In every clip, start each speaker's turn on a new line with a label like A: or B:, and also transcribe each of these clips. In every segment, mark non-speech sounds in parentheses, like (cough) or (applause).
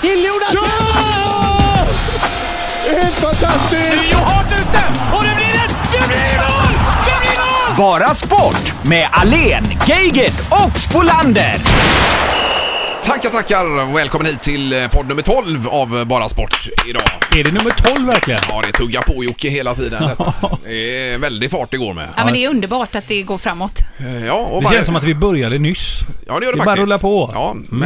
A: till Jonas!
B: Ja! Helt fantastiskt!
C: Rio hårt ute och det blir ett... Det blir mål! Det blir mål!
D: Bara sport med Alen, Geigert och Spolander.
B: Tackar, tackar. Välkommen hit till eh, podd nummer 12 av eh, Bara Sport idag.
E: Är det nummer 12 verkligen?
B: Ja, det tuggar på Jocke hela tiden. detta. Det är väldigt fart igår med.
F: Ja, men det är underbart att det går framåt.
B: Eh, Ja, och
E: Det
B: varje-
E: känns som att vi började nyss.
B: Ja, det gör det,
E: det bara
B: faktiskt.
E: rullar på. Mm.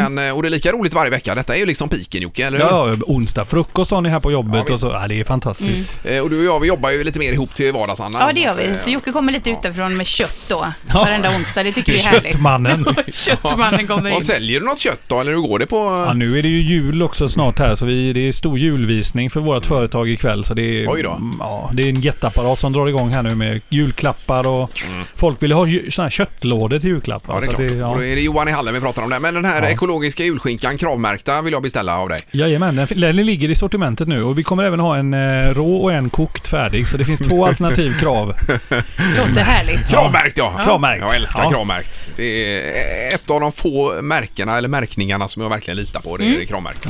B: Ja, men, eh, och det är lika roligt varje vecka. Detta är ju liksom piken Jocke, eller hur?
E: Ja, ja, onsdag frukost har ni här på jobbet och så. Ja, det är fantastiskt.
B: Eh, Och du och jag, vi jobbar ju lite mer ihop till vardags, Anna.
F: Ja, det gör
B: Så att,
F: vi.
B: eh,
F: Så Jocke kommer lite utifrån med kött då.
E: Ja.
F: Varenda onsdag. Det tycker vi är härligt.
E: Köttmannen.
F: (laughs) Köttmannen kommer in.
B: Och säljer du något kött då, eller hur går det på...
E: Ja, nu är det ju jul också snart här så vi, det är stor julvisning för vårt företag ikväll. Så det är,
B: Oj då.
E: Mm, Ja, det är en jätteapparat som drar igång här nu med julklappar och folk vill ha ju- såna här köttlådor till julklapp. va?
B: Mm. Ja, det är
E: Så
B: klart.
E: att
B: Och då är det Johan i hallen vi pratar om det. Men den här ekologiska julskinkan, kravmärkta, vill jag beställa av dig.
E: Jajamän, den, den ligger i sortimentet nu och vi kommer även ha en eh, rå och en kokt färdig. Så det finns två alternativ
B: (laughs)
E: krav.
F: Låter härligt.
B: Kravmärkt ja!
E: Kravmärkt.
B: Jag älskar
E: Ja.
B: kravmärkt. Det är ett av de få märkena eller märkningarna som jag verkligen litar på. Det är
E: Mm.
B: kravmärkta.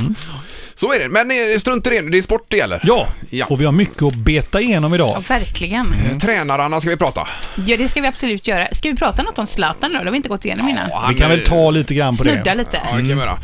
B: Så är det. Men eh, strunt i det nu. Det är sport det gäller.
E: Ja,
B: Ja.
E: och vi har mycket att beta igenom idag.
F: Ja, verkligen.
B: Tränarna ska vi prata.
F: Ja, det ska vi absolut göra. Ska vi prata något om Zlatan då? Det har vi inte gått igenom innan.
B: Ja, han,
E: Vi kan väl
B: eh,
E: ta lite Mm. grann på
F: Snudda
E: det.
F: lite.
B: Ja, det kan vi göra.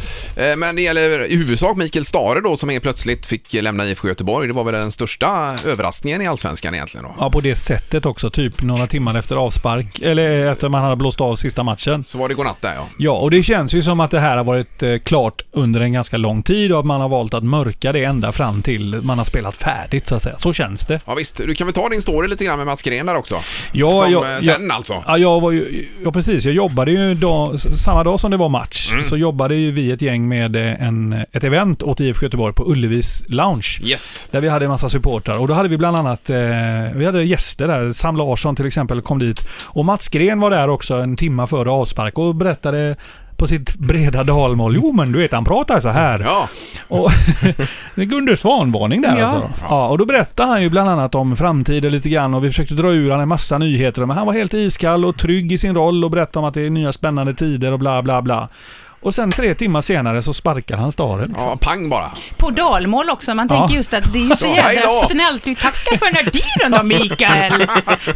B: Eh, Men det gäller i huvudsak Mikael Stare då som helt plötsligt fick lämna IFK Göteborg. Det var väl den största överraskningen i Allsvenskan egentligen då.
E: Ja, på det sättet också. Typ några timmar efter avspark, eller efter man hade blåst av sista matchen.
B: Så var det godnatt där ja.
E: Ja, och det känns ju som att det här har varit eh, klart under en ganska lång tid och att man har valt att mörka det ända fram till man har spelat färdigt så att säga. Så känns det.
B: Ja visst, du kan väl ta din story lite grann med Mats Gren där också?
E: Ja,
B: som,
E: jag-
B: eh, sen alltså?
E: Ja, jag var ju, ja precis. Jag jobbade ju dag, samma dag som det var match så jobbade ju vi ett gäng med eh, en, ett event åt IFK Göteborg på Ullevis Lounge.
B: Yes.
E: Där vi hade en massa supportrar och då hade vi bland annat eh, vi hade gäster där. Sam Larsson till exempel kom dit. Och Mats Gren var där också en timma före avspark och berättade på sitt breda dalmål. Jo men du vet han pratar så här.
B: Ja,
E: Och, (laughs) det är Gunde Svan-varning där
F: Ja.
E: alltså. Ja, och då berättade han ju bland annat om framtiden lite grann och vi försökte dra ur han en massa nyheter. Men han var helt iskall och trygg i sin roll och berättade om att det är nya spännande tider och bla bla bla. Och sen tre timmar senare så sparkar han staren.
B: ja pang bara.
F: På dalmål också. Man
E: Ja.
F: tänker just att det är ju så
B: Ja, hej
F: jävla
B: då.
F: snällt. Du tackar för den här dealen då, (laughs) Mikael.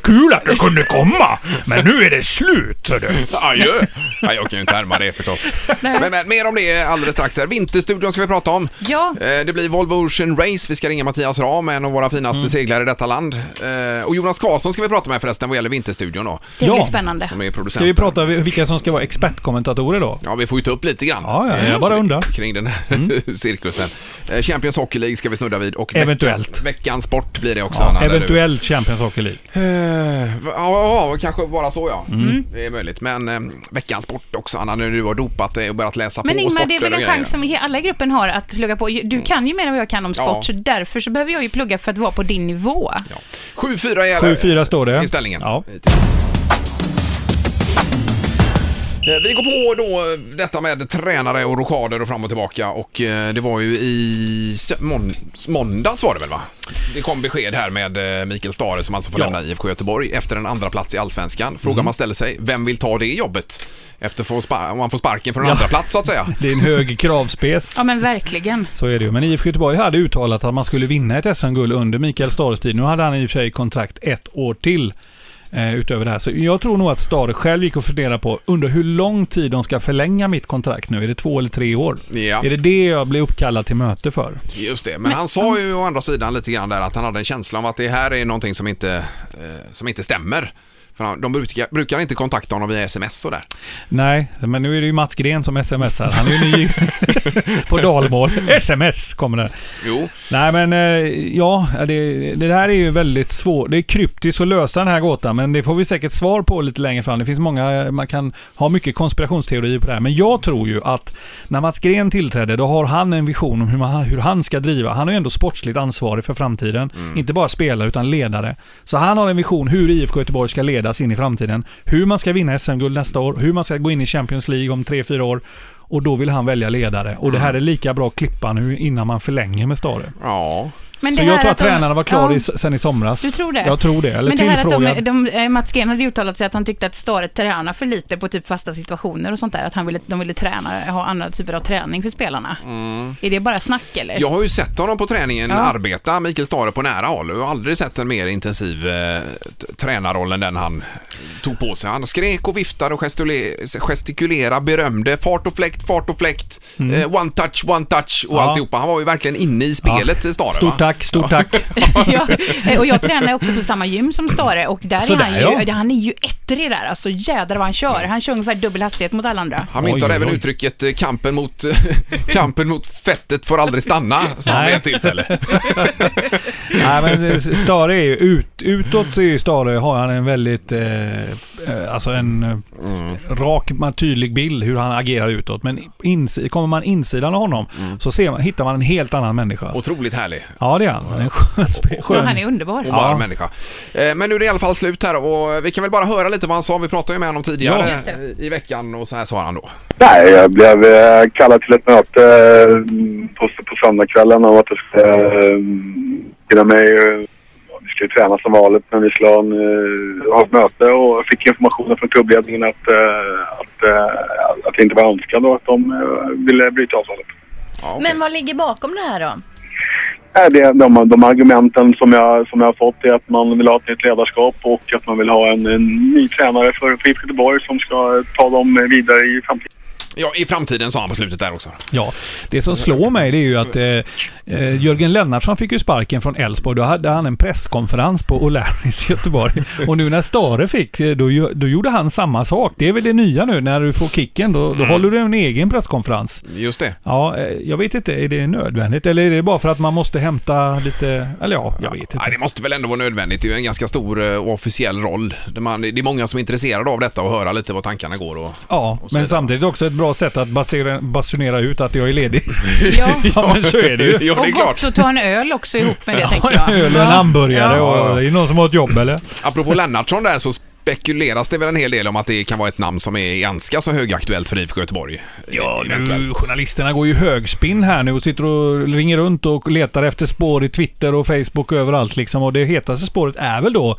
E: Kul att du kunde komma! Men nu är det slut, så du.
B: Adjö! Nej, jag kan ju inte härma det förstås. Men, men mer om det alldeles strax här. Vinterstudion ska vi prata om.
F: Ja.
B: Eh, Det blir Volvo Ocean Race. Vi ska ringa Mattias Ram, en av våra finaste
F: Mm.
B: seglare i detta land. Eh, Och Jonas Karlsson ska vi prata med förresten vad gäller Vinterstudion då.
F: Det blir
E: Ja.
F: spännande.
B: Som är producent.
E: Ska vi
B: där.
E: prata om vilka som ska vara expertkommentatorer då?
B: Ja, vi får ju ta upp lite grann.
E: Ja, ja, jag
B: eh,
E: bara
B: kring-
E: undrar. Mm.
B: Kring den här (laughs) cirkusen. Eh, Champions Hockey League ska vi snudda vid och veck-
E: Eventuellt.
B: veckans sport blir det också.
E: Ja,
B: Anna, där du-
E: eventuellt Champions Hockey League.
B: Eh, va- Ja, ja, kanske bara så ja.
F: Mm.
B: Mm. Det är möjligt. Men eh, veckans sport också Anna, när du har dopat dig och börjat läsa
F: Men
B: på
F: Ingmar,
B: sporter
F: det är
B: och
F: väl en
B: grejer. Mm.
F: chans som he- alla i gruppen har att plugga på. Du kan ju mer än vad jag kan om sport,
B: Ja.
F: så därför så behöver jag ju plugga för att vara på din nivå.
B: Ja. 7-4 gäller.
E: 7-4 står det.
B: I ställningen.
E: Ja.
B: Eh, Vi går på då eh, detta med tränare och rockader och fram och tillbaka och eh, det var ju i sö- mån- måndags var det väl va? Det kom besked här med eh, Mikael Stare som alltså får
E: Ja. Mm.
B: lämna IFK Göteborg efter en andra plats i Allsvenskan. Frågan man ställer sig, vem vill ta det jobbet? Efter få spa- om man får sparken från en andra plats så att
E: (laughs)
B: säga.
E: Det är en hög kravspes.
F: Ja, men verkligen.
E: Så är det ju. Men IFK Göteborg hade uttalat att man skulle vinna ett SM-guld under Mikael Stares tid. Nu hade han i och för sig kontrakt ett år till eh, utöver det här. Så jag tror nog att Stare själv gick och funderade på under hur lång tid de ska förlänga mitt kontrakt nu. Är det två eller tre år?
B: Ja.
E: Är det det jag blir uppkallad till möte för?
B: Just det, men, han sa ju å andra sidan lite grann där att han hade en känsla om att det här är någonting som inte, eh, som inte stämmer. För han, de brukar, brukar inte kontakta honom via sms och där.
E: Nej, men nu är det ju Mats Gren som smsar. Han är ju ny på dalmål. Sms kommer det.
B: Jo,
E: Nej men eh, ja, det, det här är ju väldigt svårt. Det är kryptiskt att lösa den här gåtan men det får vi säkert svar på lite längre fram. Det finns många, man kan ha mycket konspirationsteorier på det här. Men jag tror ju att när Mats Gren tillträdde då har han en vision om hur, man, hur han ska driva. Han är ju ändå sportsligt ansvarig för framtiden. Inte bara spelare utan ledare. Så han har en vision hur IFK Göteborg ska ledas in i framtiden. Hur man ska vinna SM-guld nästa år. Hur man ska gå in i Champions League om 3-4 år. Och då vill han välja ledare. Och det här är lika bra att klippa nu innan man förlänger med Stare.
B: ja.
F: Men
E: Så
F: det
E: jag
F: här
E: tror att
F: att de-
E: tränarna var klar
F: ja.
E: i, sen i somras.
F: Du tror det?
E: Jag tror det. Eller
F: Men det här
E: tillfrågad.
F: att de, de, eh, Mats Gren hade uttalat sig att han tyckte att Stare tränar för lite på typ fasta situationer och sånt där. Att han ville, de ville träna, ha andra typer av träning för spelarna.
E: Mm.
F: Är det bara snack eller?
B: Jag har ju sett honom på träningen
F: Ja.
B: arbeta, Mikael Stare, på nära håll. Jag har aldrig sett en mer intensiv eh, t- tränarroll än den han tog på sig. Han skrek och viftade och gestule- gestikulerade, berömde, fart och fläkt, fart och fläkt, eh, one touch, one touch och
E: Ja.
B: alltihopa. Han var ju verkligen inne i spelet, Stare.
E: Stort
B: va?
E: tack, stort tack.
F: (laughs) ja, eh, och jag tränar ju också på samma gym som Stare och där
E: Sådär,
F: är han ju,
E: ja.
F: han är ju ettrig där alltså jädrar vad han kör. Han kör ungefär dubbel hastighet mot alla andra.
B: Han myntar
E: Oj, oj,
B: även
E: oj.
B: uttrycket eh, kampen mot, (laughs) kampen mot fettet får aldrig stanna, sa han vid ett tillfälle.
E: (laughs) Nej, men Stare är ju ut, utåt så är ju Stare, har han en väldigt, eh, eh, alltså en eh, rak, man- tydlig bild hur han agerar utåt. Men ins- kommer man insidan av honom så ser man, hittar man en helt annan människa.
B: Otroligt härlig.
E: Ja, det är han. En skön, spe-
F: Ja,
E: skön.
F: han är underbar.
B: och varm
E: Ja.
B: människa. Eh, Men nu är det i alla fall slut här och vi kan väl bara höra lite vad han sa. Vi pratade ju med honom
F: Ja,
B: tidigare
F: just det.
B: i veckan och så här sa han då.
A: Nej, jag blev eh, kallad till ett möte eh, på, på söndagskvällen om att jag skulle eh, hinna med. eh, Vi skulle träna som vanligt men vi skulle ha, en, eh, ha ett möte och jag fick informationen från klubbledningen att, eh, att, eh, att det inte var önskat och att de eh, ville bryta avtalet.
B: Ja, okej.
G: Men vad ligger bakom det här då?
A: Nej, det, de, de argumenten som jag, som jag har fått är att man vill ha ett nytt ledarskap och att man vill ha en, en ny tränare för, för IFK Göteborg som ska ta dem vidare i framtiden.
B: ja, i framtiden sa han på slutet där också.
E: Ja, det som slår mig det är ju att eh, eh, Jörgen Lennartsson fick ju sparken från Elfsborg. Då hade han en presskonferens på O'Larrys i Göteborg. Och nu när Stare fick, eh, då, gö- då gjorde han samma sak. Det är väl det nya nu när du får kicken. Då,
B: Mm.
E: då håller du en egen presskonferens.
B: Just det.
E: Ja, eh, jag vet inte. Är det nödvändigt? Eller är det bara för att man måste hämta lite... Eller ja, jag vet
B: Nej,
E: inte.
B: det måste väl ändå vara nödvändigt. Det är ju en ganska stor eh, och officiell roll. Det, man, det är många som är intresserade av detta och höra lite vad tankarna går och...
E: Ja,
B: så är
E: men
B: det.
E: samtidigt också ett bra sätt att basera, basunera ut att jag
B: (laughs)
E: är ledig.
F: Ja.
E: (laughs) Ja, men så är det ju.
B: Ja, det (laughs)
F: Och
B: är
F: gott
B: klart.
F: att ta en öl också ihop
E: (laughs)
F: med det tänker jag.
E: En öl och en hamburgare
F: Ja.
E: och... Är det någon som har ett jobb eller?
B: Apropå Lennartsson där så spekuleras det väl en hel del om att det kan vara ett namn som är ganska så högaktuellt för IFK Göteborg. Eh,
E: Ja, nu,
B: Eventuellt.
E: journalisterna går ju högspinn här nu och sitter och ringer runt och letar efter spår i Twitter och Facebook och överallt liksom. Och det hetaste spåret är väl då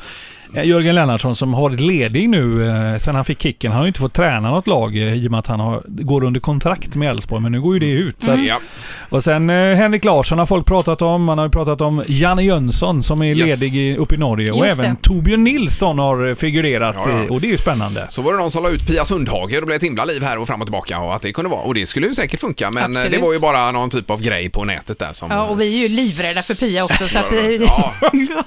E: eh, Jörgen Lennartsson som har varit ledig nu eh, sen han fick kicken. Han har ju inte fått träna något lag eh, i och med att han har, går under kontrakt med Elfsborg, men nu går ju det ut. Så att,
B: Ja,
E: och sen eh, Henrik Larsson har folk pratat om. Man har ju pratat om Janne Jönsson som är
B: Yes.
E: ledig i, uppe i Norge. Och
F: Just
E: även
F: det.
E: Torbjörn Nilsson har eh, figurerat
B: Ja, ja.
E: eh, och det är ju spännande.
B: Så var det någon som la ut Pia Sundhage och det blev ett himla liv här och fram och tillbaka och att det kunde vara. Och det skulle ju säkert funka men eh,
F: Absolut.
B: det var ju bara någon typ av grej på nätet där som...
F: Ja, och vi är ju livrädda för Pia också. Så att,
B: Ja.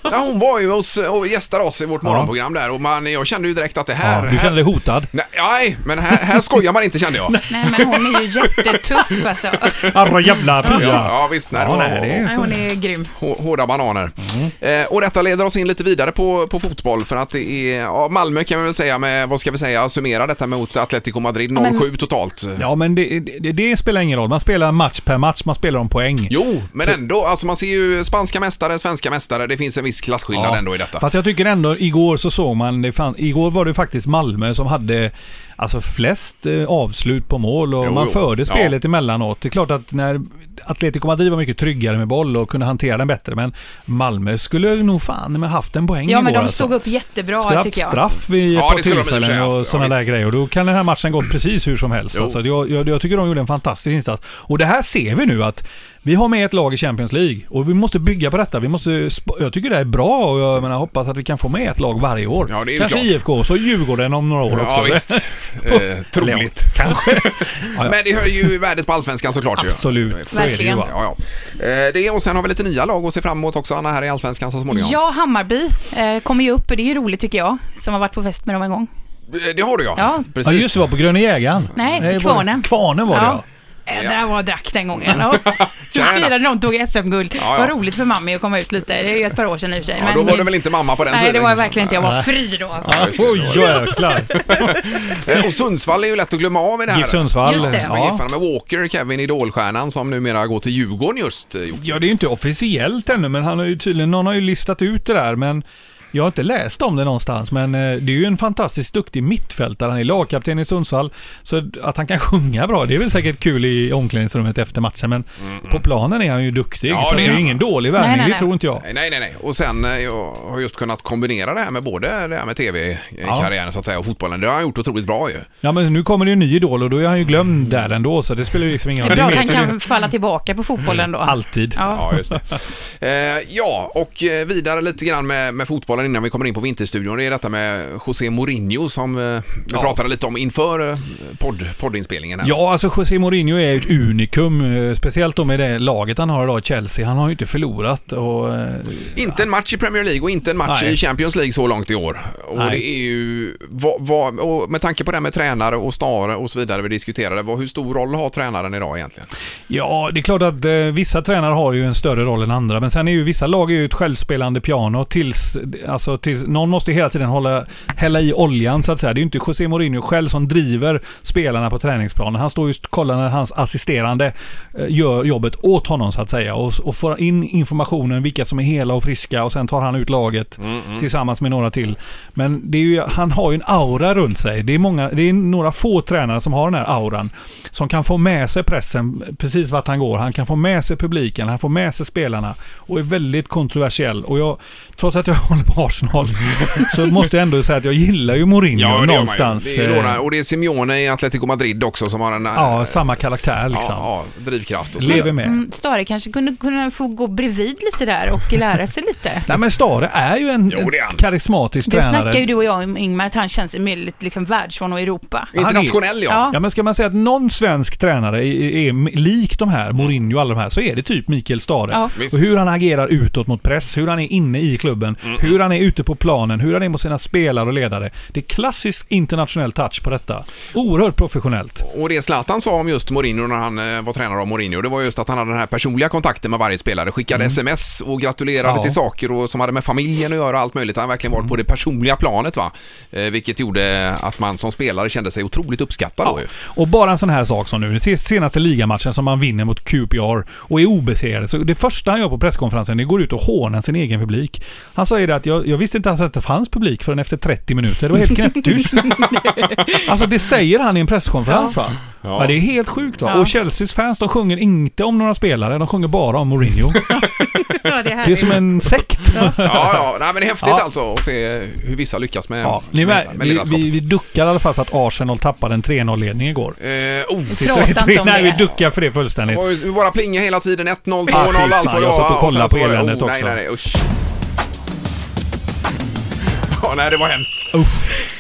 B: Ja, hon var ju hos, och gästade oss i vårt morgonprogram där och man, jag kände ju direkt att det här...
E: Ja, du känner
B: (laughs)
E: dig hotad?
B: här nej, men här, här skojar man inte kände
E: (laughs)
B: jag.
F: Nej, men hon är ju jättetuff alltså.
E: Arra jävla
B: Ja,
E: Pia!
B: ja visst, nej,
E: Ja,
B: det var
E: nej, det är
F: Nej, hon är grym.
B: hå- hårda bananer. Eh, och detta leder oss in lite vidare på, på fotboll för att det är, ja, Malmö kan vi väl säga med, vad ska vi säga, summera detta mot Atletico Madrid 0-7 totalt.
E: Ja, men det, det, det spelar ingen roll. Man spelar match per match, man spelar om poäng.
B: Jo, men ändå. Alltså man ser ju spanska mästare, svenska mästare. Det finns en viss klasskillnad ändå i detta.
E: Fast jag tycker ändå, igår så såg man, det fan, igår var det faktiskt Malmö som hade alltså flest eh, avslut på mål och
B: Jo,
E: man
B: jo.
E: förde
B: Ja.
E: spelet emellanåt. Det är klart att när Atletico Madrid var mycket tryggare med boll och kunde hantera den bättre, men Malmö skulle nog fan med haft en poäng
F: Ja,
E: igår
F: men de
E: alltså.
F: stod upp
E: Skulle
F: jättebra
E: haft
F: tycker jag.
E: straff vid ett
B: Ja,
E: par
B: det skulle de i och för sig
E: tillfällen
B: haft.
E: och
B: Ja,
E: sådana där
B: visst.
E: grejer. Och då kan den här matchen gått precis hur som helst.
B: Jo.
E: Alltså, jag, jag, jag tycker de gjorde en fantastisk insats. Och det här ser vi nu att vi har med ett lag i Champions League och vi måste bygga på detta. Vi måste, sp- jag tycker det här är bra och jag menar, hoppas att vi kan få med ett lag varje år.
B: Ja, det är ju
E: Kanske
B: klart.
E: IFK, så Djurgården om några år
B: Ja,
E: också. (laughs)
B: visst. Eh,
E: Eller ja,
B: troligt.
E: Kanske.
B: (laughs)
E: ja, ja.
B: Men det höjer ju värdet på allsvenskan såklart ju.
E: Absolut, så är det ju.
F: Verkligen.
E: Va?
B: Ja, ja. Eh, Det, och sen har vi lite nya lag att se fram emot också, Anna, här i allsvenskan så småningom.
F: Ja, Hammarby eh, kommer ju upp och det är ju roligt tycker jag, som har varit på fest med dem en gång.
B: Eh, Det har du ja.
F: Ja.
E: Ja,
B: Precis.
E: just det, var på Gröna Jägaren.
F: Nej,
E: var det-
F: Kvarnen.
E: Kvarnen var det ja.
F: Jädrar vad jag drack den gången. Ja. Då
B: Tjena.
F: firade de tog SM-guld.
B: Ja, ja.
F: Vad roligt för mamma att komma ut lite. Det är ju ett par år sedan i och för sig.
B: Ja, då var du väl inte mamma på den
F: Nej,
B: tiden?
F: det var jag verkligen inte. Jag var fri då.
E: Ja, Oj, jäklar.
B: Eh, Och Sundsvall är ju lätt att glömma av i det här.
E: GIF Sundsvall.
F: Just det.
B: Med
E: Ja.
B: Giffarna, med Walker, Kevin Idolstjärnan som numera går till Djurgården just. eh, gjort.
E: Ja, det är ju inte officiellt ännu, men han har ju tydligen, någon har ju listat ut det där, men Jag har inte läst om det någonstans, men eh, det är ju en fantastiskt duktig mittfältare. Han är lagkapten i Sundsvall. Så att han kan (laughs) sjunga bra, det är väl säkert kul i omklädningsrummet efter matchen. Men på planen är han ju duktig.
B: Ja,
E: så
B: det
E: det
B: är
E: är ju
B: han.
E: ingen dålig värvning,
F: Nej, nej,
E: det
F: nej.
E: tror inte jag.
B: Nej, nej, nej. nej. Och sen eh, jag har just kunnat kombinera det här med både det här med tv-karriären så att säga och fotbollen. Det har han gjort otroligt bra ju.
E: Ja, men nu kommer det ju en ny idol och då är han ju
B: Mm.
E: glömd där ändå, så det spelar ju liksom ingen
F: Det
E: roll.
F: är
E: Det
F: bra att han
E: vet ju
F: kan falla tillbaka på fotbollen då.
E: alltid.
F: Ja.
B: Ja, just det. (laughs) Eh, ja, och eh, vidare lite grann med, med fotbollen innan vi kommer in på Vinterstudion. Det är detta med José Mourinho som eh, vi pratade lite om inför eh, podd, poddinspelningen. Här.
E: Ja, alltså José Mourinho är ju ett unikum. eh, Speciellt då med det laget han har idag, Chelsea. Han har ju inte förlorat och... eh,
B: Inte en match i Premier League och inte en match
E: Nej.
B: i Champions League så långt i år. Och
E: Nej.
B: det är ju, vad, vad, och med tanke på det här med tränare och snarare och så vidare vi diskuterade, vad, hur stor roll har tränaren idag egentligen?
E: Ja, det är klart att eh, vissa tränare har ju en större roll än andra. Men sen är ju vissa lag är ju ett självspelande piano tills... Alltså, tills någon måste ju hela tiden hålla, hälla i oljan så att säga. Det är ju inte José Mourinho själv som driver spelarna på träningsplanen. Han står just och kollar när hans assisterande eh, gör jobbet åt honom så att säga. Och, och får in informationen vilka som är hela och friska och sen tar han ut laget
B: Mm,
E: tillsammans med några till. Men det är ju, han har ju en aura runt sig. Det är, många, det är några få tränare som har den här auran. Som kan få med sig pressen precis vart han går. Han kan få med sig publiken, han får med sig spelarna och är väldigt kontroversiell. Och jag, trots att jag (laughs) håller på Arsenal så måste jag ändå säga att jag gillar ju Mourinho någonstans.
B: Det är ju några,
E: Eh,
B: och det är Simeone i Atletico Madrid också som har en
E: Ja,
B: eh,
E: samma karaktär liksom.
B: ja, ja, drivkraft och så
E: Lever
B: vidare.
E: med.
F: Mm, Stare kanske kunde, kunde få gå bredvid lite där och lära sig lite.
E: Nej men Stare är ju en
B: Jo, det är han.
E: karismatisk
F: Det
E: tränare.
F: snackar ju du och jag om Ingmar, att han känns väldigt liksom världsvan och Europa.
B: Internationell ja.
F: Ja.
E: Ja, men ska man säga att någon svensk tränare är, är lik de här, Mourinho och alla de här, så är det typ Mikael Stare.
F: Ja.
B: Visst.
E: Och hur han agerar utåt mot press, hur han är inne i klubben, hur han är ute på planen, hur han är mot sina spelare och ledare. Det är klassisk internationell touch på detta. Oerhört professionellt.
B: Och det Zlatan sa om just Mourinho när han eh, var tränare av Mourinho, det var just att han hade den här personliga kontakten med varje spelare, skickade sms och gratulerade
E: Mm. Ja. Mm.
B: till saker och som hade med familjen att göra och allt möjligt. Han verkligen var på det personliga planet va. Eh, vilket gjorde att man som spelare kände sig otroligt uppskattad då ju.
E: Och bara en sån här sak som nu, den senaste ligamatchen som man vinner mot QPR och är obesegrade. Så det första han gör på presskonferensen, det går ut och hånar sin egen publik. Han sa ju det att jag, jag visste inte ens att det fanns publik förrän efter 30 minuter. Det var helt
F: (laughs)
E: knäpptyst. alltså det säger han i en presskonferens va? Ja. det är helt sjukt va?
F: Ja.
E: Och Chelseas fans de sjunger inte om några spelare, de sjunger bara om Mourinho.
F: (laughs) Ja, det, här
E: Det är som en sekt.
B: Ja, ja. Nej, men det är häftigt
E: Ja.
B: alltså att se hur vissa lyckas med,
E: Ja, ni
B: med,
E: är med,
B: med,
E: vi,
B: ledarskapet.
E: vi, vi duckar i alla fall för att Arsenal tappade en 3-0-ledning igår.
B: Eh, oh, titta.
F: Prata inte om
E: Nej, vi
F: det.
E: duckar för det fullständigt.
B: Det var ju bara plinga hela tiden. 1-0, 2-0,
E: Ah, fy fan,
B: allt vad det
E: jag
B: var.
E: satt och
B: va?
E: kollade
B: sen så
E: på
B: var det-
E: eländet
B: oh, Nej,
E: också.
B: nej, nej. Usch. (laughs) Ja, nej, det var hemskt.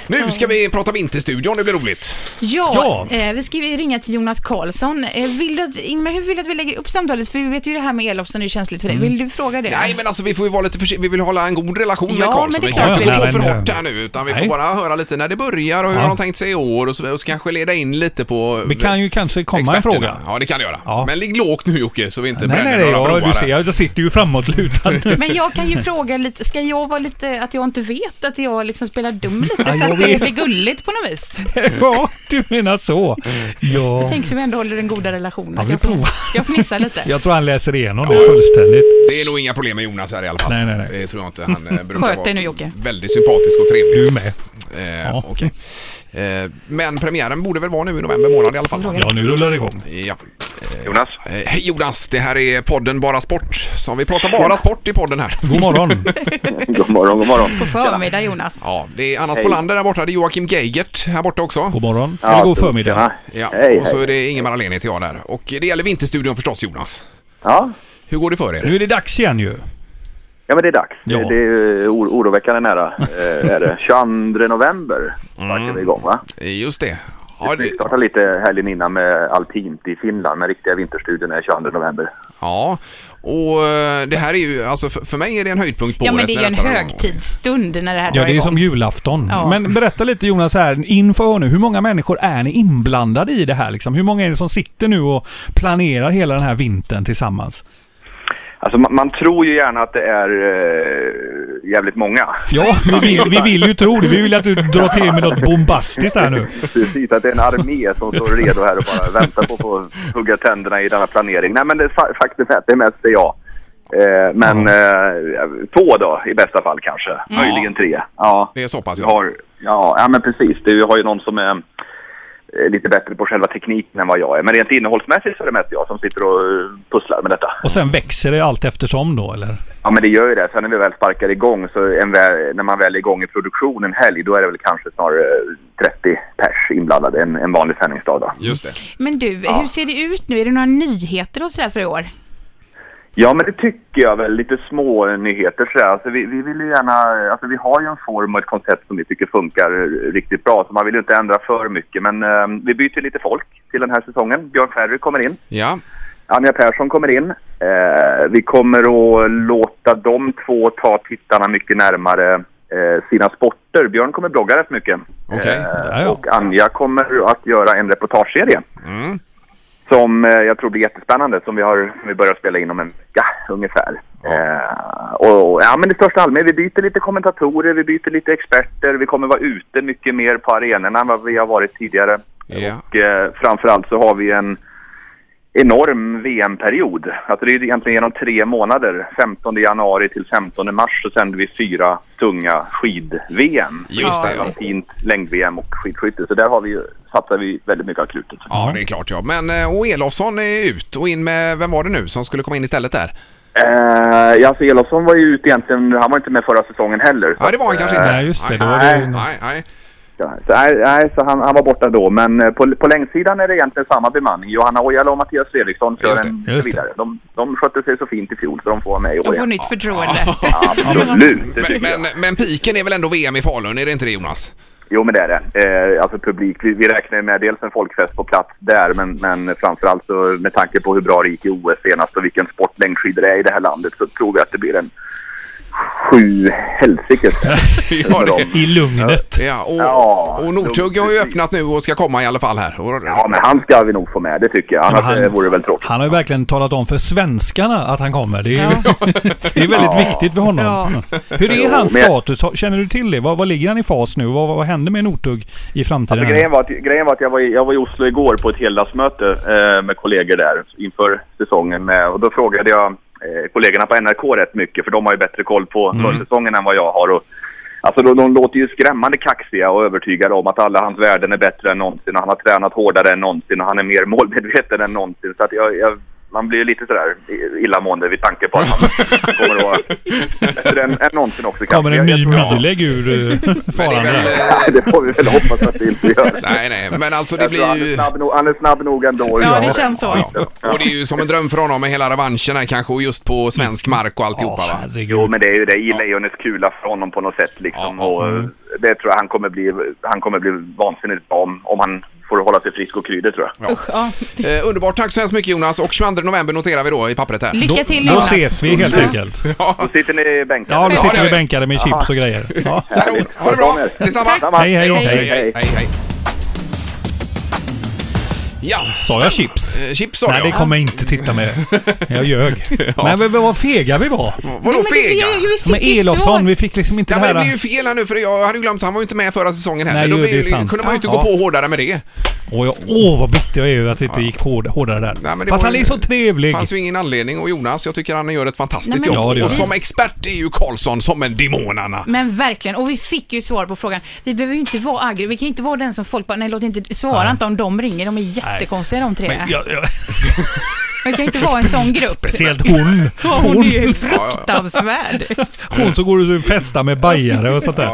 B: Nu ska vi prata vinterstudion, det blir roligt.
F: Ja,
E: Ja.
F: Eh, vi ska ju ringa till Jonas Karlsson. Eh, vill du att, Ingmar, hur vill du att vi lägger upp samtalet? För vi vet ju det här med Elofsson är känsligt för dig.
E: Mm.
F: Vill du fråga det?
B: Nej, men alltså vi får ju vara lite försiktiga. Vi vill hålla en god relation med
F: Ja,
B: Karlsson.
F: men det
B: Vi
F: är
B: kan
E: klart
B: inte
E: vi
B: gå
E: vill.
B: för
E: Nej, men- eh,
B: hårt där nu, utan vi får
E: Nej.
B: bara höra lite när det börjar och hur
E: Ja.
B: de tänkt sig i år och så, och så kan jag leda in lite på
E: Vi kan ju kanske komma en
B: experterna.
E: fråga.
B: Ja, det kan det göra.
E: Ja.
B: Men ligg lågt nu Jocke, så vi inte
E: Nej,
B: bränner
E: nej, nej.
B: några
E: Ja,
B: broar
E: du
B: här.
E: ser, jag sitter ju framåtlutad. (laughs)
F: Men jag kan ju fråga lite, ska jag vara lite, att jag inte vet, att jag liksom spelar dum lite
E: Ja,
F: så
E: jag
F: att det
E: vet.
F: blir gulligt på något vis?
E: ja, du menar så. Ja.
F: Tänk som vi ändå håller den goda relationen.
E: Ja, vi
F: jag, får-
E: provar.
F: jag fnissar lite.
E: Jag tror han läser igenom det fullständigt.
B: Det är nog inga problem med Jonas här i alla fall.
E: Nej, nej, nej.
B: Det tror jag inte. Han eh, brukar
F: Sköt dig
B: vara
F: nu, Jocke.
B: väldigt sympatisk och trevlig.
E: Du med.
B: Eh,
E: Mm. Ja.
B: okej. eh, men premiären borde väl vara nu i november månad i alla fall?
E: Ja, nu rullar det igång.
B: Ja.
A: Jonas?
B: Eh, hej Jonas, det här är podden Bara Sport. Som vi pratar bara sport i podden här.
E: God morgon.
A: God morgon, god morgon.
F: På förmiddag Jonas.
B: Ja, det är Anna Spolander där borta, det är Joakim Geigert här borta också.
E: God morgon. Eller god förmiddag.
B: Ja,
A: Hej,
B: och så är
A: hej.
B: det Ingemar Ahlén heter jag där. Och det gäller Vinterstudion förstås Jonas.
A: Ja.
B: Hur går det för er?
E: Nu är det dags igen ju.
A: ja, men det är dags.
E: Ja.
A: Det, det är ju or- oroväckande nära. Eh, är det. 22 november sparkar vi igång,
E: Mm.
A: va?
B: Eh, Just det. Ja,
A: Vi
B: det,
A: startar lite helgen innan med alpint i Finland, men riktiga vinterstudion är 22 november.
B: ja. och eh, det här är ju, alltså för, för mig är det en höjdpunkt på
F: Ja men
B: året
F: det är ju
B: när
F: en
B: detta-
F: högtidsstund när det här
E: Ja,
F: drar
E: det är
F: igång.
E: som julafton.
F: Ja.
E: Men berätta lite Jonas här, inför nu. Hur många människor är ni inblandade i det här liksom? Hur många är det som sitter nu och planerar hela den här vintern tillsammans?
A: Alltså, man, man tror ju gärna att det är eh, jävligt många.
E: Ja, vi vill, vi vill ju tro det. Vi vill att du drar till med något bombastiskt här
G: (laughs)
E: nu.
A: Precis, att det är en armé som står redo här och bara väntar på att få hugga tänderna i denna planering. Nej, men det, fa- faktum är att det mest är jag.
G: Eh, men eh, två då i bästa fall kanske. Möjligen tre. Ja.
B: Det är så pass
G: Du
B: ja.
G: har, ja, ja, men precis. Du har ju någon som är eh, lite bättre på själva tekniken än vad jag är. Men rent innehållsmässigt så är det mest jag som sitter och eh, pusslar med detta.
E: Och sen växer det allt eftersom då eller?
G: Ja, men det gör ju det. Sen när vi väl sparkar igång, så en vä- när man väl är igång i produktion en helg, då är det väl kanske snarare eh, 30 pers inblandade en, en vanlig sändningsdag. Då.
B: Just det.
F: Men du, hur ser det ut nu? Är det några nyheter och sådär för i år?
G: Ja, men det tycker jag väl. Lite små nyheter sådär. Alltså, vi, vi vill ju gärna... Alltså, vi har ju en form och ett koncept som vi tycker funkar eh, riktigt bra, så man vill ju inte ändra för mycket. Men eh, vi byter lite folk till den här säsongen. Björn Ferry kommer in.
B: Ja.
G: Anja Persson kommer in. Eh, vi kommer att låta de två ta tittarna mycket närmare eh, sina sporter. Björn kommer blogga rätt mycket.
B: Okej.
E: Där, ja.
G: Eh, och Anja kommer att göra en reportageserie.
B: Mm.
G: Som eh, jag tror blir jättespännande, som vi, har, som vi börjar spela in om en vecka ungefär. Eh, och, och- ja, men i största allmänhet, vi byter lite kommentatorer, vi byter lite experter, vi kommer vara ute mycket mer på arenorna än vad vi har varit tidigare.
B: Ja.
G: Och eh, framförallt så har vi en enorm VM-period. Alltså det är ju egentligen genom tre månader. 15 januari till 15 mars så sänder vi fyra tunga skid-VM.
B: Just det, ja.
G: Alpint, längd-VM och skidskytte. Så där har vi, ju- satsar vi väldigt mycket av klutet.
B: Ja, det är klart ja. Men eh, och Elofsson är ut och in med, vem var det nu som skulle komma in istället där?
G: Eh, ja, alltså Elofsson var ju ute egentligen, han var inte med förra säsongen heller. Så
B: Ja, det var han kanske inte.
E: Nej, just det. Då
B: Nej,
E: var det ju...
G: Nej.
E: någon-
B: nej. nej.
G: att- så, nej, nej, så han, han var borta då. Men eh, på, på längdsidan är det egentligen samma bemanning. Johanna Ojala och Mattias Fredriksson kör
B: Just det,
G: en
E: just det.
G: vidare. De, de skötte sig så fint i fjol så de får vara med i år
F: De får
G: igen.
F: nytt förtroende.
G: Absolut, det
B: Men,
G: tycker jag.
B: men, men piken är väl ändå VM i Falun, är det inte det Jonas?
G: Jo, men det är det. Eh, alltså publik. Vi, vi räknar ju med dels en folkfest på plats där, men, men framförallt så med tanke på hur bra det gick i OS senast och vilken sport längdskidor är i det här landet så tror vi att det blir en sju helsikes
B: (laughs) Ja, det-
E: I lugnet.
B: Ja, och,
G: Ja,
B: och Nordtugg har ju
G: precis.
B: öppnat nu och ska komma i alla fall här. Och,
G: Ja, men han ska vi nog få med, det tycker jag. Annars
E: Men han-
G: eh, vore det väl tråkigt.
E: Han har ju verkligen talat om för svenskarna att han kommer. Det är,
F: Ja.
E: (laughs) det är väldigt
G: Ja.
E: viktigt för honom. Mm. Hur är hans
G: men jag-
E: status? Har- Känner du till det? Vad, vad ligger han i fas nu? Vad, vad händer med Northug i framtiden?
G: Alltså, grejen, var att, grejen var att jag var, i, jag var i Oslo igår på ett heldagsmöte eh, med kollegor där inför säsongen. Med, och då frågade jag eh, kollegorna på NRK rätt mycket för de har ju bättre koll på
E: Mm.
G: försäsongen än vad jag har. Och, alltså, de, de låter ju skrämmande kaxiga och övertygade om att alla hans värden är bättre än någonsin. Och han har tränat hårdare än någonsin och han är mer (laughs) målmedveten än någonsin. Så att jag, jag, man blir ju lite sådär illamående vid tanke på
E: (laughs)
G: att han kommer att vara bättre än, än någonsin också. kanske.
E: Kommer en
G: Jag-
E: ny
G: jag tror-
E: middelägg ur eh,
B: men det är väl,
E: faran där?
B: eh,
G: Nej, (laughs) det får vi väl hoppas att det inte gör.
B: nej, nej, men alltså det
G: Jag tror
B: blir
G: han, är
B: ju...
G: snabb nog, han är snabb nog ändå.
F: (laughs) Ja, det känns så.
B: Ja, och det är ju som en dröm för honom med hela revanschen här kanske och just på svensk mark och alltihopa va?
G: Jo,
E: herregud.
G: men det är ju det i lejonets kula för honom på något sätt. Liksom.
B: Ja,
G: och, eh, Det tror jag han kommer bli, han kommer bli vansinnigt bra om, om han får hålla sig frisk och kry, det tror jag.
F: Usch, ja.
B: Eh, underbart, tack så hemskt mycket Jonas och 22 november noterar vi då i pappret här.
F: Lycka till
E: Då
F: Jonas.
E: ses vi helt enkelt.
G: Då sitter ni i bänken.
E: Ja, då
B: Ja, det
E: sitter
B: gör
E: vi
B: vi.
E: bänkade med chips och grejer. Ja.
B: Kanon, ha det bra! Detsamma!
E: Hej, hej, hej.
B: hej, hej, hej. Ja,
E: Sa jag
B: stäm-
E: chips?
B: Eh, Chips sa
E: Nej,
B: du
E: det
B: ja.
E: kommer jag inte sitta med. Jag ljög. Men vad- vad fega vi var.
B: Vadå
F: Men det
B: fega?
F: blev ju- vi fick
E: Men
F: ju
E: Elofsson,
F: svar.
E: vi fick liksom inte
B: Ja,
E: det
B: men det
E: här...
B: blev ju fel här nu för jag hade ju glömt, han var ju inte med förra säsongen heller.
E: Nej,
B: Då
E: ju,
B: blev-
E: det är sant.
B: kunde man ju inte
E: Ja.
B: gå på hårdare med det.
E: Åh, jag, åh vad bitter jag är över att det inte gick hård, hårdare där.
B: men det
E: Fast
B: var
E: han
B: ju-
E: är så trevlig.
B: Det fanns ju ingen anledning och Jonas, jag tycker han gör ett fantastiskt
F: Nej, men-
B: jobb.
E: Ja, det gör
B: och
E: han.
B: som expert är ju Karlsson som en demon Anna.
F: Men verkligen, och vi fick ju svar på frågan. Vi behöver ju inte vara aggressiva, vi kan ju inte vara den som folk bara, nej låt inte, svara inte om de ringer, de är jättekonstiga de tre.
E: Men jag, jag,
F: Man kan inte vara en sån grupp.
E: speciellt (laughs) hon.
F: Ja, Hon är ju
E: Hon,
F: fruktansvärd.
E: hon som går och festar med bajare och sånt där.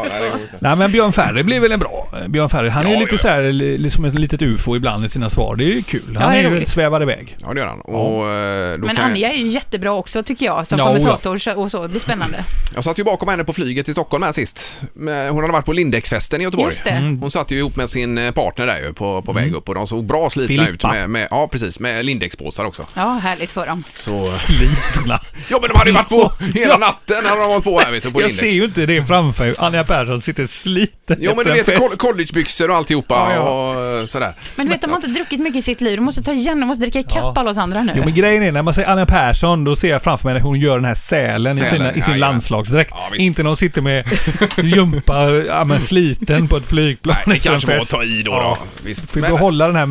E: Nej men Björn Ferry blir väl en bra... Björn Ferry, han är ju
B: Ja,
E: lite
B: ja.
E: så här, li- liksom ett litet ufo ibland i sina svar. Det är ju kul. Han
F: det är
E: är ju
F: roligt.
E: svävar iväg.
B: Ja det gör han. Och, eh, då kan
F: Men
B: jag-
F: Anja är ju jättebra också tycker jag, som
E: Ja,
F: kommentator så- och så. Det blir spännande.
B: Jag satt ju bakom henne på flyget till Stockholm här sist. Men Hon hade varit på Lindexfesten i Göteborg.
F: Just det. Mm.
B: Hon satt ju ihop med sin eh, partner där ju på, på väg upp och de såg bra slitna
E: Mm. Filippa.
B: ut med, med, ja precis, med Lindexpåsar också.
F: Ja, härligt för dem.
B: Så,
E: Slitna.
B: ja men de hade ju varit på hela
E: Ja.
B: natten hade de varit på här vet du, på
E: Jag
B: Lindex.
E: ser ju inte det framför mig. Anja Persson sitter sliten
B: liksom. Jo men du
E: efter en
B: vet
E: fest.
B: coll- collegebyxor och alltihopa
E: Ja, ja.
B: och eh, sådär.
F: Men du vet, de har inte druckit mycket i sitt liv. De måste ta igen, de måste dricka ikapp alla oss andra nu.
E: Jo men grejen är när man säger Anja Persson då ser jag framför mig när hon gör den här sälen, i,
B: Sälen,
E: sina, i sin
B: jajamän.
E: landslagsdräkt.
B: Ja, visst. Mm.
E: inte när hon sitter med (laughs) jumpa, ja, men sliten på ett flygplan.
B: Nej, det
E: efter en
B: kanske var att
E: fest.
B: ta i då.
E: Ja.
B: då. Visst.
E: Får vi
B: Men-
E: behålla den här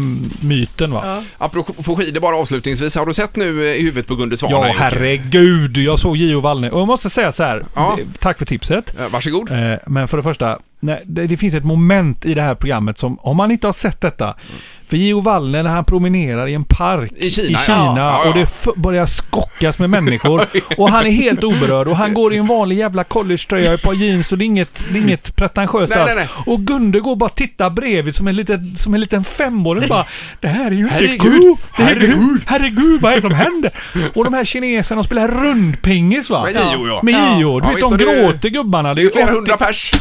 E: myten va?
B: Apropå skidor bara avslutningsvis Lisa, har du sett nu eh, i huvudet på Gunde Svan?
E: Ja,
B: här, Jocke?
E: herregud. Jag såg Gio Wallner. Och jag måste säga så här.
B: Ja.
E: det- Tack för tipset.
B: Eh, Varsågod.
E: Eh, Men för det första, nej, det, det finns ett moment i det här programmet som, om man inte har sett detta. För Gio Wallner när han promenerar i en park
B: I Kina, ja.
E: Kina,
B: Ja, ja.
E: och det f- börjar skockas
B: (laughs)
E: med människor. och han är helt oberörd och han går i en vanlig jävla collegetröja och ett par jeans och det är inget, det är inget pretentiöst
B: Nej,
E: alls.
B: nej,
E: Och Gunde går och bara tittar bredvid som en liten, som en liten femåring och bara Det här är ju inte
B: Herregud,
E: coolt! Herregud!
B: herregud."
E: Herregud, vad är det som händer? Och de här kineserna de spelar rundpingis va?
B: Med Gio, ja.
E: Med Gio. Du
B: Ja,
E: vet,
B: visst,
E: de
B: och det är ju-
E: gråter gubbarna.
B: Det är ju flera
E: 80
B: hundra pers.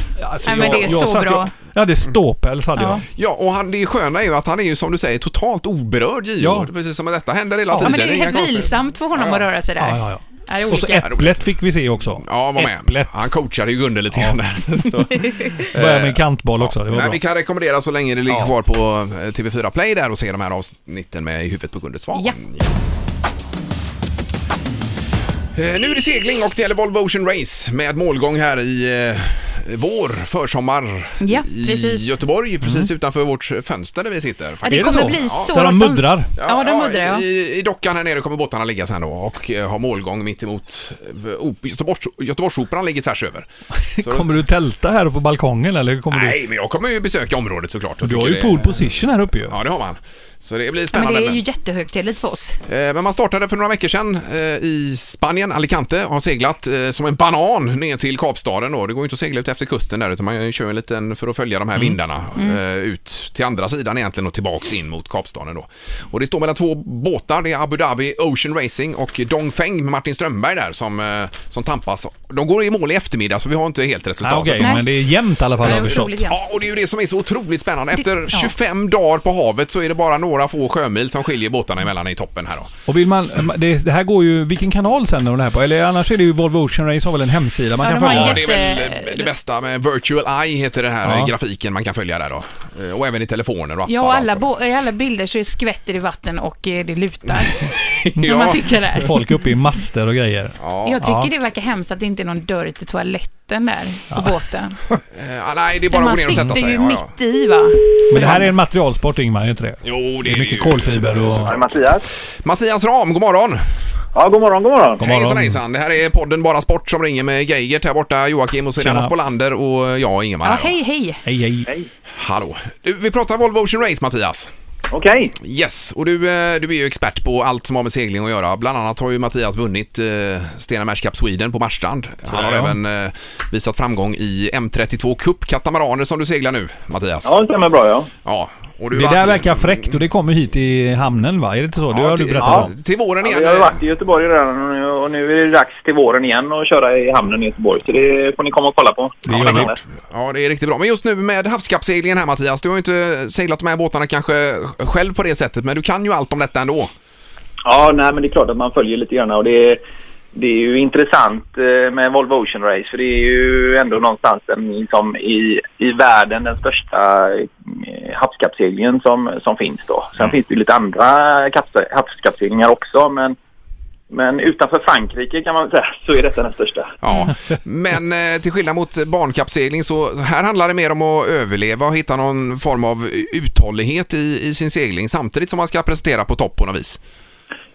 F: Nej, men det är så
E: satt-
F: bra.
E: Alltså, Jag, jag hade ståpäls hade jag.
F: Ja.
B: Ja, och han, det sköna är ju att han är ju som du säger totalt oberörd Gio.
E: Ja.
B: Precis som att detta händer hela
F: Ja,
B: tiden.
F: men det är
B: Inga
F: helt
B: konstigheter.
F: vilsamt för honom
B: Ja,
F: att
B: ja.
F: röra sig där.
E: Ja, ja, ja.
F: Ja, det är
E: Och så
F: olika.
E: Äpplet fick vi se också.
B: Ja, var med.
E: Äpplet.
B: Han coachade ju Gunde lite grann där. Så.
E: Började med en kantboll också. Det var
B: Nej,
E: bra.
B: vi kan rekommendera så länge det ligger kvar på eh, TV4 Play där och se de här avsnitten med I huvudet på Gunde Svan.
F: Ja.
B: Eh, Nu är det segling och det gäller Volvo Ocean Race med målgång här i eh, vår försommar
F: Ja,
B: i
F: precis.
B: Göteborg, precis
E: Mm.
B: utanför vårt fönster där vi sitter.
F: Ja,
B: faktiskt.
F: det
E: Är det
F: kommer
E: så?
F: bli
E: Ja.
F: så...
E: Där de
F: att
E: muddrar.
F: Ja, de muddrar ja.
B: I, I dockan här nere kommer båtarna ligga sen då och eh, ha målgång mitt emot eh, op- Göteborgs, Göteborgsoperan ligger tvärs över. Så
E: Kommer du tälta här på balkongen eller? hur Kommer du...
B: Nej, men jag kommer ju besöka området såklart. Jag
E: Mm. Du har
B: tycker
E: ju
B: det-
E: pool position här uppe ju.
B: Ja, det har man. Så det blir
F: Ja, men
B: spännande.
F: det är ju jättehögtidligt för oss.
B: Eh, Men man startade för några veckor sedan eh, i Spanien, Alicante, har seglat eh, som en banan ner till Kapstaden då. Det går ju inte att segla ut efter kusten där utan man kör en liten för att följa de här vindarna eh, ut till andra sidan egentligen och tillbaks in mot Kapstaden då. Och det står mellan två båtar, det är Abu Dhabi Ocean Racing och Dongfeng med Martin Strömberg där som, eh, som tampas. De går i mål i eftermiddag så vi har inte helt
E: Ah,
B: resultatet.
E: Okej,
F: Nej.
E: men det är jämnt i alla fall
F: Det
E: har
F: är
E: vi förstått.
F: otroligt jämnt.
B: Ja, och det är ju det som är så otroligt spännande. Efter
F: Det- ja.
B: 25 dagar på havet så är det bara några få sjömil som skiljer båtarna emellan i toppen här då.
E: Och vill man, det, det här går ju, vilken kanal sänder de det här på? Eller annars är det ju Volvo Ocean Race har väl en hemsida man
F: Ja,
E: kan
F: de har
E: följa?
B: Ja,
F: en
B: det är
F: jätte-
B: väl eh, det bästa med Virtual Eye heter det här
E: Ja.
B: grafiken man kan följa där då. Eh, Och även i telefoner och appar.
F: Ja, och
B: och
F: alla,
B: allt.
F: bo- i alla bilder så är det skvätter i vatten och eh, det lutar när man
B: ja.
F: tittar där.
E: Folk uppe i master och grejer.
B: Ja.
F: Jag tycker
E: Ja.
F: det verkar hemskt att det inte är någon dörr till toaletten där på båten.
B: Eh, ah, nej, det är bara
F: Men
B: att
F: man
B: gå ner och sätta
F: sitter
B: sig.
F: ju
B: Ja, ja.
F: mitt i va?
E: Men det här är en materialsport Ingmar, är inte det?
B: Jo, det
E: Det
B: är
E: är mycket
B: ju-
E: kolfiber och...
G: Mattias?
B: Mattias Ram, god morgon!
G: Ja, god morgon, god morgon.
E: morgon.
B: Hejsan hejsan! Det här är podden Bara Sport som ringer med Geigert här borta, Joakim och så är det
E: Tjena.
B: Anna Spolander och jag Ingemar.
F: Ja,
B: här då.
F: hej hej.
E: Hej, hej.
B: Hallå! Du, vi pratar Volvo Ocean Race Mattias.
G: Okej.
B: Yes, och du, eh, du är ju expert på allt som har med segling att göra. Bland annat har ju Mattias vunnit eh, Stena Match Cup Sweden på Marstrand. Han har
E: ja.
B: även eh, visat framgång i M32 Cup katamaraner som du seglar nu, Mattias.
G: Ja, det stämmer bra ja.
B: Ja, och du
E: Det
B: vann-
E: där verkar fräckt och det kommer hit i hamnen va? Är det inte så? Det
B: Ja,
E: har du
B: till,
E: berättat
B: ja,
E: om.
B: till våren igen.
G: Vi har ju varit i Göteborg redan och nu- och nu är det dags till våren igen och köra i hamnen i Göteborg. Så det får ni komma och kolla på.
E: Det gör vi.
B: Ja, det är riktigt bra. Men just nu med havskappseglingen här Mattias, du har ju inte seglat de här båtarna kanske själv på det sättet, men du kan ju allt om detta ändå.
G: Ja, nej men det är klart att man följer lite grann och det är, det är ju intressant eh, med Volvo Ocean Race för det är ju ändå någonstans den, liksom, i, i världen den största eh, havskappseglingen som, som finns då. Sen
H: Mm.
G: finns det ju lite andra kapsa- havskappseglingar också men, men utanför Frankrike kan man väl säga så är detta den största.
B: Ja, men eh, till skillnad mot barnkapsegling så här handlar det mer om att överleva och hitta någon form av uthållighet i, i sin segling samtidigt som man ska prestera på topp på något vis.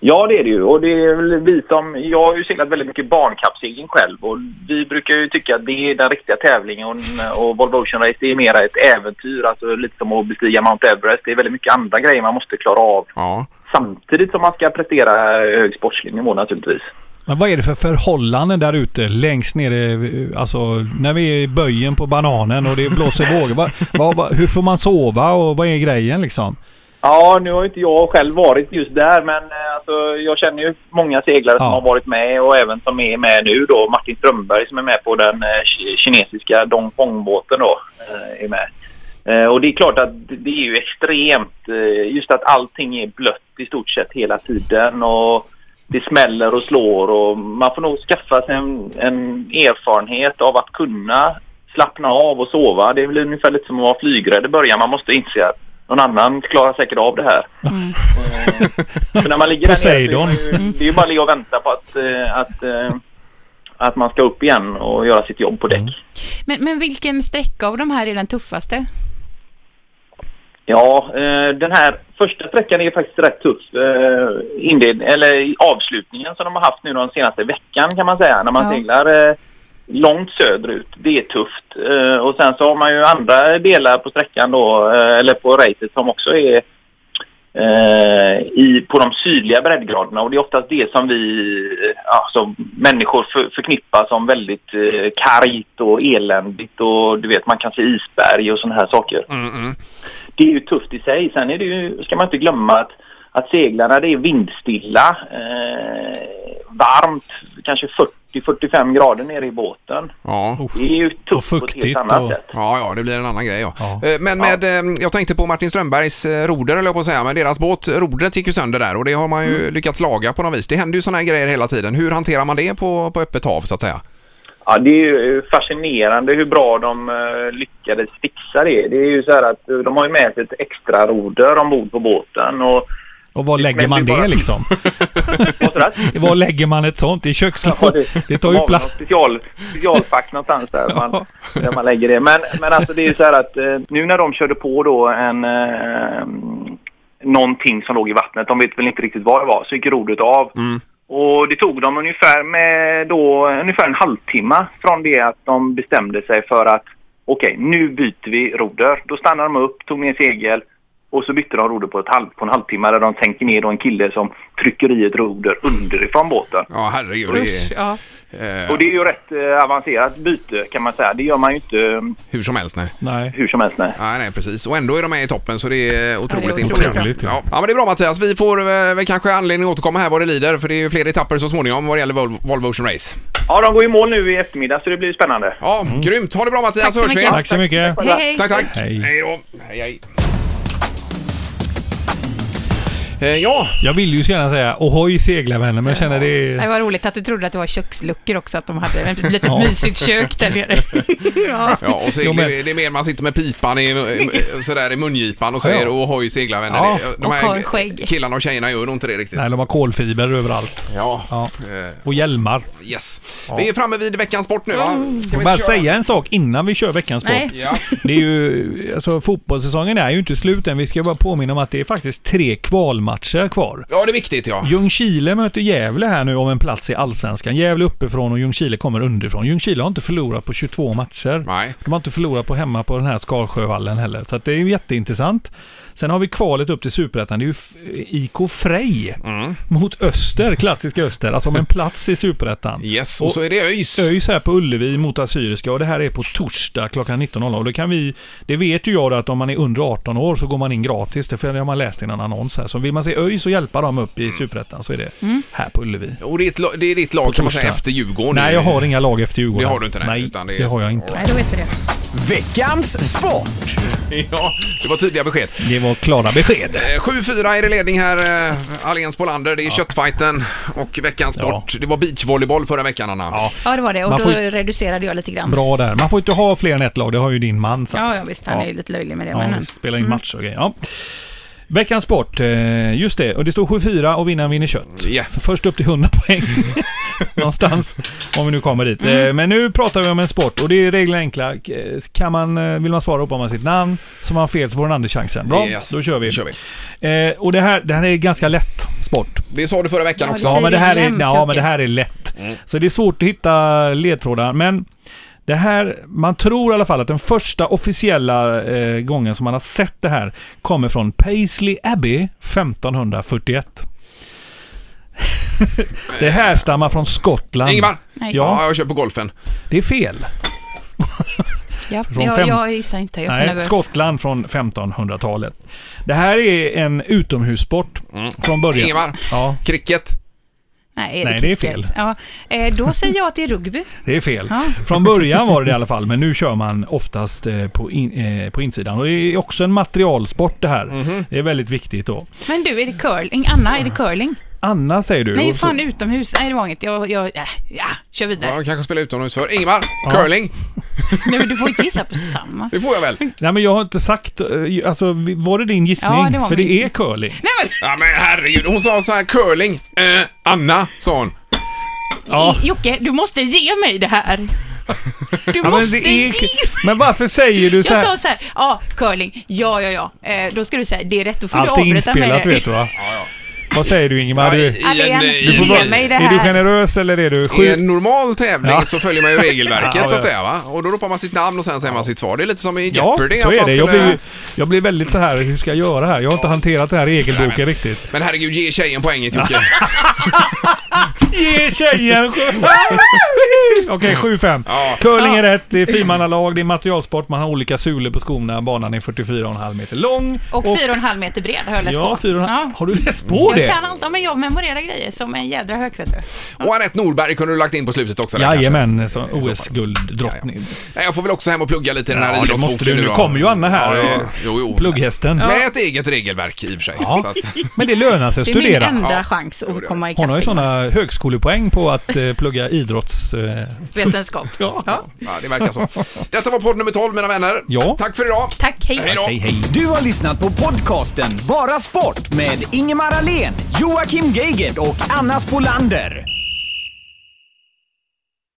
G: Ja, det är det ju. Och det är väl vi som, jag har ju seglat väldigt mycket barnkappsegling själv och vi brukar ju tycka att det är den riktiga tävlingen och, och Volvo Ocean Race det är mera ett äventyr, alltså lite som att bestiga Mount Everest. Det är väldigt mycket andra grejer man måste klara av
B: Ja.
G: samtidigt som man ska prestera hög sportslig nivå naturligtvis.
E: Men vad är det för förhållanden där ute längst nere, alltså när vi är i böjen på bananen och det blåser vågor. Va, va, va, hur får man sova och vad är grejen liksom?
G: Ja, nu har ju inte jag själv varit just där men eh, alltså, jag känner ju många seglare som
E: Ja.
G: har varit med och även som är med nu då. Martin Strömberg som är med på den eh, ki- kinesiska Dongfong-båten då. Eh, är med. Eh, och det är klart att det- det är ju extremt eh, just att allting är blött i stort sett hela tiden och det smäller och slår och man får nog skaffa sig en, en erfarenhet av att kunna slappna av och sova. Det är väl ungefär lite som att vara flygrädd i början. Man måste inse att någon annan klarar säkert av det här. Eh, För när man ligger där nere så är,
E: Poseidon.
G: man ju, det är ju bara att ligga och vänta på att, eh, att, eh, att man ska upp igen och göra sitt jobb på däck.
F: Men, men vilken sträcka av de här är den tuffaste?
H: Ja, eh, den här första sträckan är ju faktiskt rätt tuff. Eh, inled- eller i avslutningen som de har haft nu de senaste veckan kan man säga. När man
F: Ja.
H: seglar eh, långt söderut. Det är tufft. Eh, och sen så har man ju andra delar på sträckan då, eh, eller på racet som också är eh, i, på de sydliga breddgraderna. Och det är oftast det som vi eh, ja, som människor för, förknippar som väldigt eh, kargt och eländigt. Och du vet, man kan se isberg och sådana här saker
B: Mm, mm.
H: det är ju tufft i sig. Sen är det ju, ska man inte glömma att, att seglarna det är vindstilla, eh, varmt, kanske 40-45 grader nere i båten.
B: Ja.
H: Det är ju
E: Och
H: tufft på ett
E: fuktigt
H: helt annat
E: och-
H: sätt.
B: Ja, ja, det blir en annan grej. Ja.
E: Ja.
B: Eh, Men med, eh, jag tänkte på Martin Strömbergs eh, roder, eller jag på att säga, men deras båt, rodret gick ju sönder där och det har man ju lyckats laga på något vis. Det händer ju sådana här grejer hela tiden. Hur hanterar man det på, på öppet hav så att säga?
H: Ja, det är ju eh, fascinerande hur bra de eh, lyckades fixa det. Det är ju så här att eh, de har ju med sig ett extra roder ombord på båten. Och,
E: Och var lägger
H: Men
E: man
H: det är
E: det
H: bara-
E: liksom?
H: och sådär.
E: Var lägger man ett sånt? I
H: Ja,
E: kökslådan? (laughs) Det tar
H: de
E: ju
H: har väl
E: plats.
H: något Special, specialfack någonstans
E: (laughs)
H: där man, där man lägger det. Men, men alltså det är ju så här att eh, nu när de körde på då en... Eh, någonting som låg i vattnet, de vet väl inte riktigt vad det var, så gick rodret av.
E: Mm.
H: Och det tog dem ungefär, med då, ungefär en halvtimme från det att de bestämde sig för att okej, nu byter vi roder. Då stannade de upp, tog ner segel och så bytte de roder på, ett halv, på en halvtimme där de sänker ner då en kille som trycker i ett roder underifrån båten.
B: Ja, herregud.
F: Usch,
B: Det,
F: ja.
B: är, eh,
H: Och det är ju rätt eh, avancerat byte kan man säga. Det gör man ju inte eh,
B: hur som helst, nej.
E: Nej.
H: hur som helst. Nej.
B: Nej, nej, precis. Och ändå är de med i toppen så det är otroligt
F: otroligt
B: imponerande.
E: bra.
B: Ja. ja, men det är bra Mattias. Vi får eh, väl kanske anledning att återkomma här vad det lider för det är ju fler etapper så småningom vad det gäller Vol- Volvo Ocean Race.
H: Ja, de går i mål nu i eftermiddag så det blir spännande.
B: Ja, grymt. Ha det bra Mattias
F: Tack så
B: hörs vi.
F: mycket.
E: Tack så mycket.
F: Hej, hej.
B: Tack, tack.
E: Mm. Hej.
B: hej då. Hej, hej. Eh, ja,
E: Jag vill ju så gärna säga ohoj seglarvänner, men jag känner det
F: Det
E: är...
F: var roligt att du trodde att det var köksluckor också, att de hade ett litet
E: (laughs) Ja.
F: mysigt kök där
E: (laughs)
F: nere. ja.
B: ja och seglar,
E: Jo, men-
B: det är mer man sitter med pipan i, i- sådär i mungipan och säger
E: Ja.
B: ohoj seglarvänner.
E: Ja.
B: Det-
F: Och har skägg.
B: killarna och tjejerna gör nog inte det riktigt.
E: Nej, de har kolfiber överallt.
B: Ja.
E: Ja.
B: Eh,
E: Och hjälmar.
B: yes. Vi är framme vid veckans sport nu va?
F: Mm.
B: Ska
E: Jag
B: vi
E: bara
B: köra?
E: säga en sak innan vi kör veckans sport.
F: Nej.
B: Ja.
E: Det är ju, alltså fotbollssäsongen är ju inte slut än. Vi ska bara påminna om att det är faktiskt tre kvalmatcher kvar.
B: ja, det är viktigt ja.
E: Ljungskile möter Gävle här nu om en plats i Allsvenskan. Gävle uppifrån och Ljungskile kommer underifrån. Ljungskile har inte förlorat på 22 matcher.
B: Nej.
E: De har inte förlorat på hemma på den här Skalsjövallen heller. Så att det är ju jätteintressant. Sen har vi kvalet upp till Superettan. Det är ju F- IK Frej mot Öster, klassiska Öster. Alltså om en plats i Superettan.
B: Yes, och, så är det ÖIS.
E: ÖIS här på Ullevi mot Assyriska och det här är på torsdag klockan 19.00. Och det, kan vi, det vet ju jag då att om man är under 18 år så går man in gratis. Det har man läst i en annons här. Så vill man se ÖIS och hjälpa dem upp
B: Mm.
E: i Superettan så är det
F: Mm.
E: här på Ullevi.
B: Och det är, ett, la- det är ditt lag
E: På
B: kan man säga
E: torsdag.
B: efter Djurgården.
E: Nej, jag har inga lag efter Djurgården.
B: Det har du inte, nej,
E: Nej,
B: utan det
E: det,
B: är-
E: har jag inte.
F: Nej, då vet vi det.
I: Veckans sport!
B: (laughs) Ja, det var tidiga besked.
E: Det var klara besked.
B: Eh, 7-4 är det ledning här, eh, Allians Bolander. Det är köttfighten och veckans sport. Det var beachvolleyboll förra veckan, Anna. Ja.
F: Ja, det var det. Och
E: Man
F: då
E: får ju-
F: reducerade jag lite grann.
E: Bra där. Man får inte ha fler än ett lag, det har ju din man sagt.
F: Ja, ja, visst. Han är ju lite löjlig med det.
E: Ja,
F: men Mm.
E: vi spelar in matcher och grejer. Ja. Veckans sport, eh, just det. Och det står 7-4 och vinnaren vinner kött.
B: Ja.
E: Så först upp till 100 poäng. Någonstans. Om vi nu kommer dit. Eh, Men nu pratar vi om en sport och det är regler enkla. K- Kan man, eh, vill man svara upp om man sitt namn, så man har fel så får den andra chansen. Bra,
B: Yes.
E: då kör vi.
B: Kör vi.
E: Eh, och det här, det här är ganska lätt sport.
B: Det sa du förra veckan
F: Ja,
B: också.
F: det
E: Ja,
F: säger
E: men det
F: vi
E: här är,
F: jämt,
E: ja,
F: Jocke.
E: men det här är lätt.
B: Mm.
E: Så det är svårt att hitta ledtrådar. Men det här, man tror i alla fall att den första officiella eh, gången som man har sett det här kommer från Paisley Abbey 1541. (laughs) det härstammar från Skottland.
B: Ingemar!
F: Nej.
B: Ja,
E: Ja.
B: jag kör på golfen.
E: Det är fel.
F: Ja,
E: Från
F: jag,
E: fem-
F: jag gissar inte. Jag är så
E: Nej,
F: nervös.
E: Skottland från 1500-talet. Det här är en utomhussport från början.
B: Mm. Ingemar.
E: Ja,
B: Cricket.
F: Nej,
E: Nej, det är
F: cricket?
E: fel.
F: Ja, eh, då säger jag att det är rugby.
E: Det är fel.
F: Ja.
E: Från början var det det i alla fall, men nu kör man oftast eh, på, in, eh, på insidan. Och det är också en materialsport det här.
B: Mhm.
E: Det är väldigt viktigt då.
F: Men du, är det curling? Anna, är det curling?
E: Anna säger du.
F: Nej,
E: Och Ah. så-
F: fan utomhus. Nej, det var inget. Jag, jag, äh, ja, kör vidare.
B: Ja, kanske spela utomhus för. Ingemar! Curling.
F: Nej, men du får inte gissa på samma.
E: (laughs)
B: Det får jag väl?
E: Nej men jag har inte sagt, eh, ju- alltså vi- var det din gissning?
F: Ja, det var
E: För
F: min
E: det är curling.
F: Nej, men
B: Ja, men herregud. Hon sa så här, curling. Eh, Anna, sa hon.
E: Ja.
F: Jocke, du måste ge mig det här. Du
E: (laughs) Ja,
F: måste
E: det är-
F: ge
E: men varför säger du så
F: Jag
E: här?
F: sa så här, ja, curling, ja, ja, ja. Eh, då ska du säga, det är rätt, då får
E: Allt
F: du
E: är
F: avbryta mig.
E: inspelat vet du va? Vad säger du Ingemar? Du,
F: Alén,
B: i
F: ge
B: en, eh,
F: mig det
E: är du
F: här.
E: generös eller är du
B: I en
E: sjuk?
B: normal tävling
E: (laughs) Ja.
B: så följer man ju regelverket
E: Ja, ja.
B: så att säga va? Och då ropar man sitt namn och sen säger man sitt svar. Det är lite som i
E: Ja,
B: Jeopardy.
E: så
B: att
E: är
B: man
E: det. Jag
B: skulle-
E: blir, jag blir väldigt så här, hur ska jag göra här? Jag har inte hanterat den här regelboken riktigt.
B: Men herregud, ge tjejen poänget Jocke.
E: Ge tjejen sju- (laughs) Okej, 7-5.
B: Ja.
E: Curling är rätt, det är frimannalag, det är materialsport, man har olika sulor på skorna, banan är 44,5 meter lång.
F: Och 4,5 meter bred har jag läst på.
E: Ja, 4,5.
F: Ja.
E: Har du läst på
F: Jag
E: det?
F: kan allt, ja, men jag memorerar grejer som en jädra hök vet du.
B: Och Anette Norberg kunde du lagt in på slutet också. där, kanske.
E: Jajamän, som
B: fall.
E: OS-gulddrottning.
B: Nej, Jag får väl också hem och plugga lite i den här
E: Ja, det
B: idrottsboken
E: måste du.
B: nu
E: Nu
B: då.
E: kommer ju Anna här.
B: Ja, ja. Jo, jo.
E: Plugghästen.
B: Med ett eget regelverk i och för sig.
E: Ja.
B: Så att,
E: Men det lönar sig att
F: Det är min
E: studera.
F: enda
B: Ja.
F: chans att komma
E: Hon har ju
F: ikapp
E: sådana högskolepoäng på att eh, plugga idrotts... Eh,
F: vetenskap.
E: (laughs) Ja.
B: ja, det verkar så. Detta var podd nummer 12 mina vänner.
E: Ja.
B: Tack för idag.
F: Tack,
B: Hej då.
E: hej, hej.
D: Du har lyssnat på podcasten Bara Sport med Ingemar Ahlén, Joakim Geigert och Anna Spolander.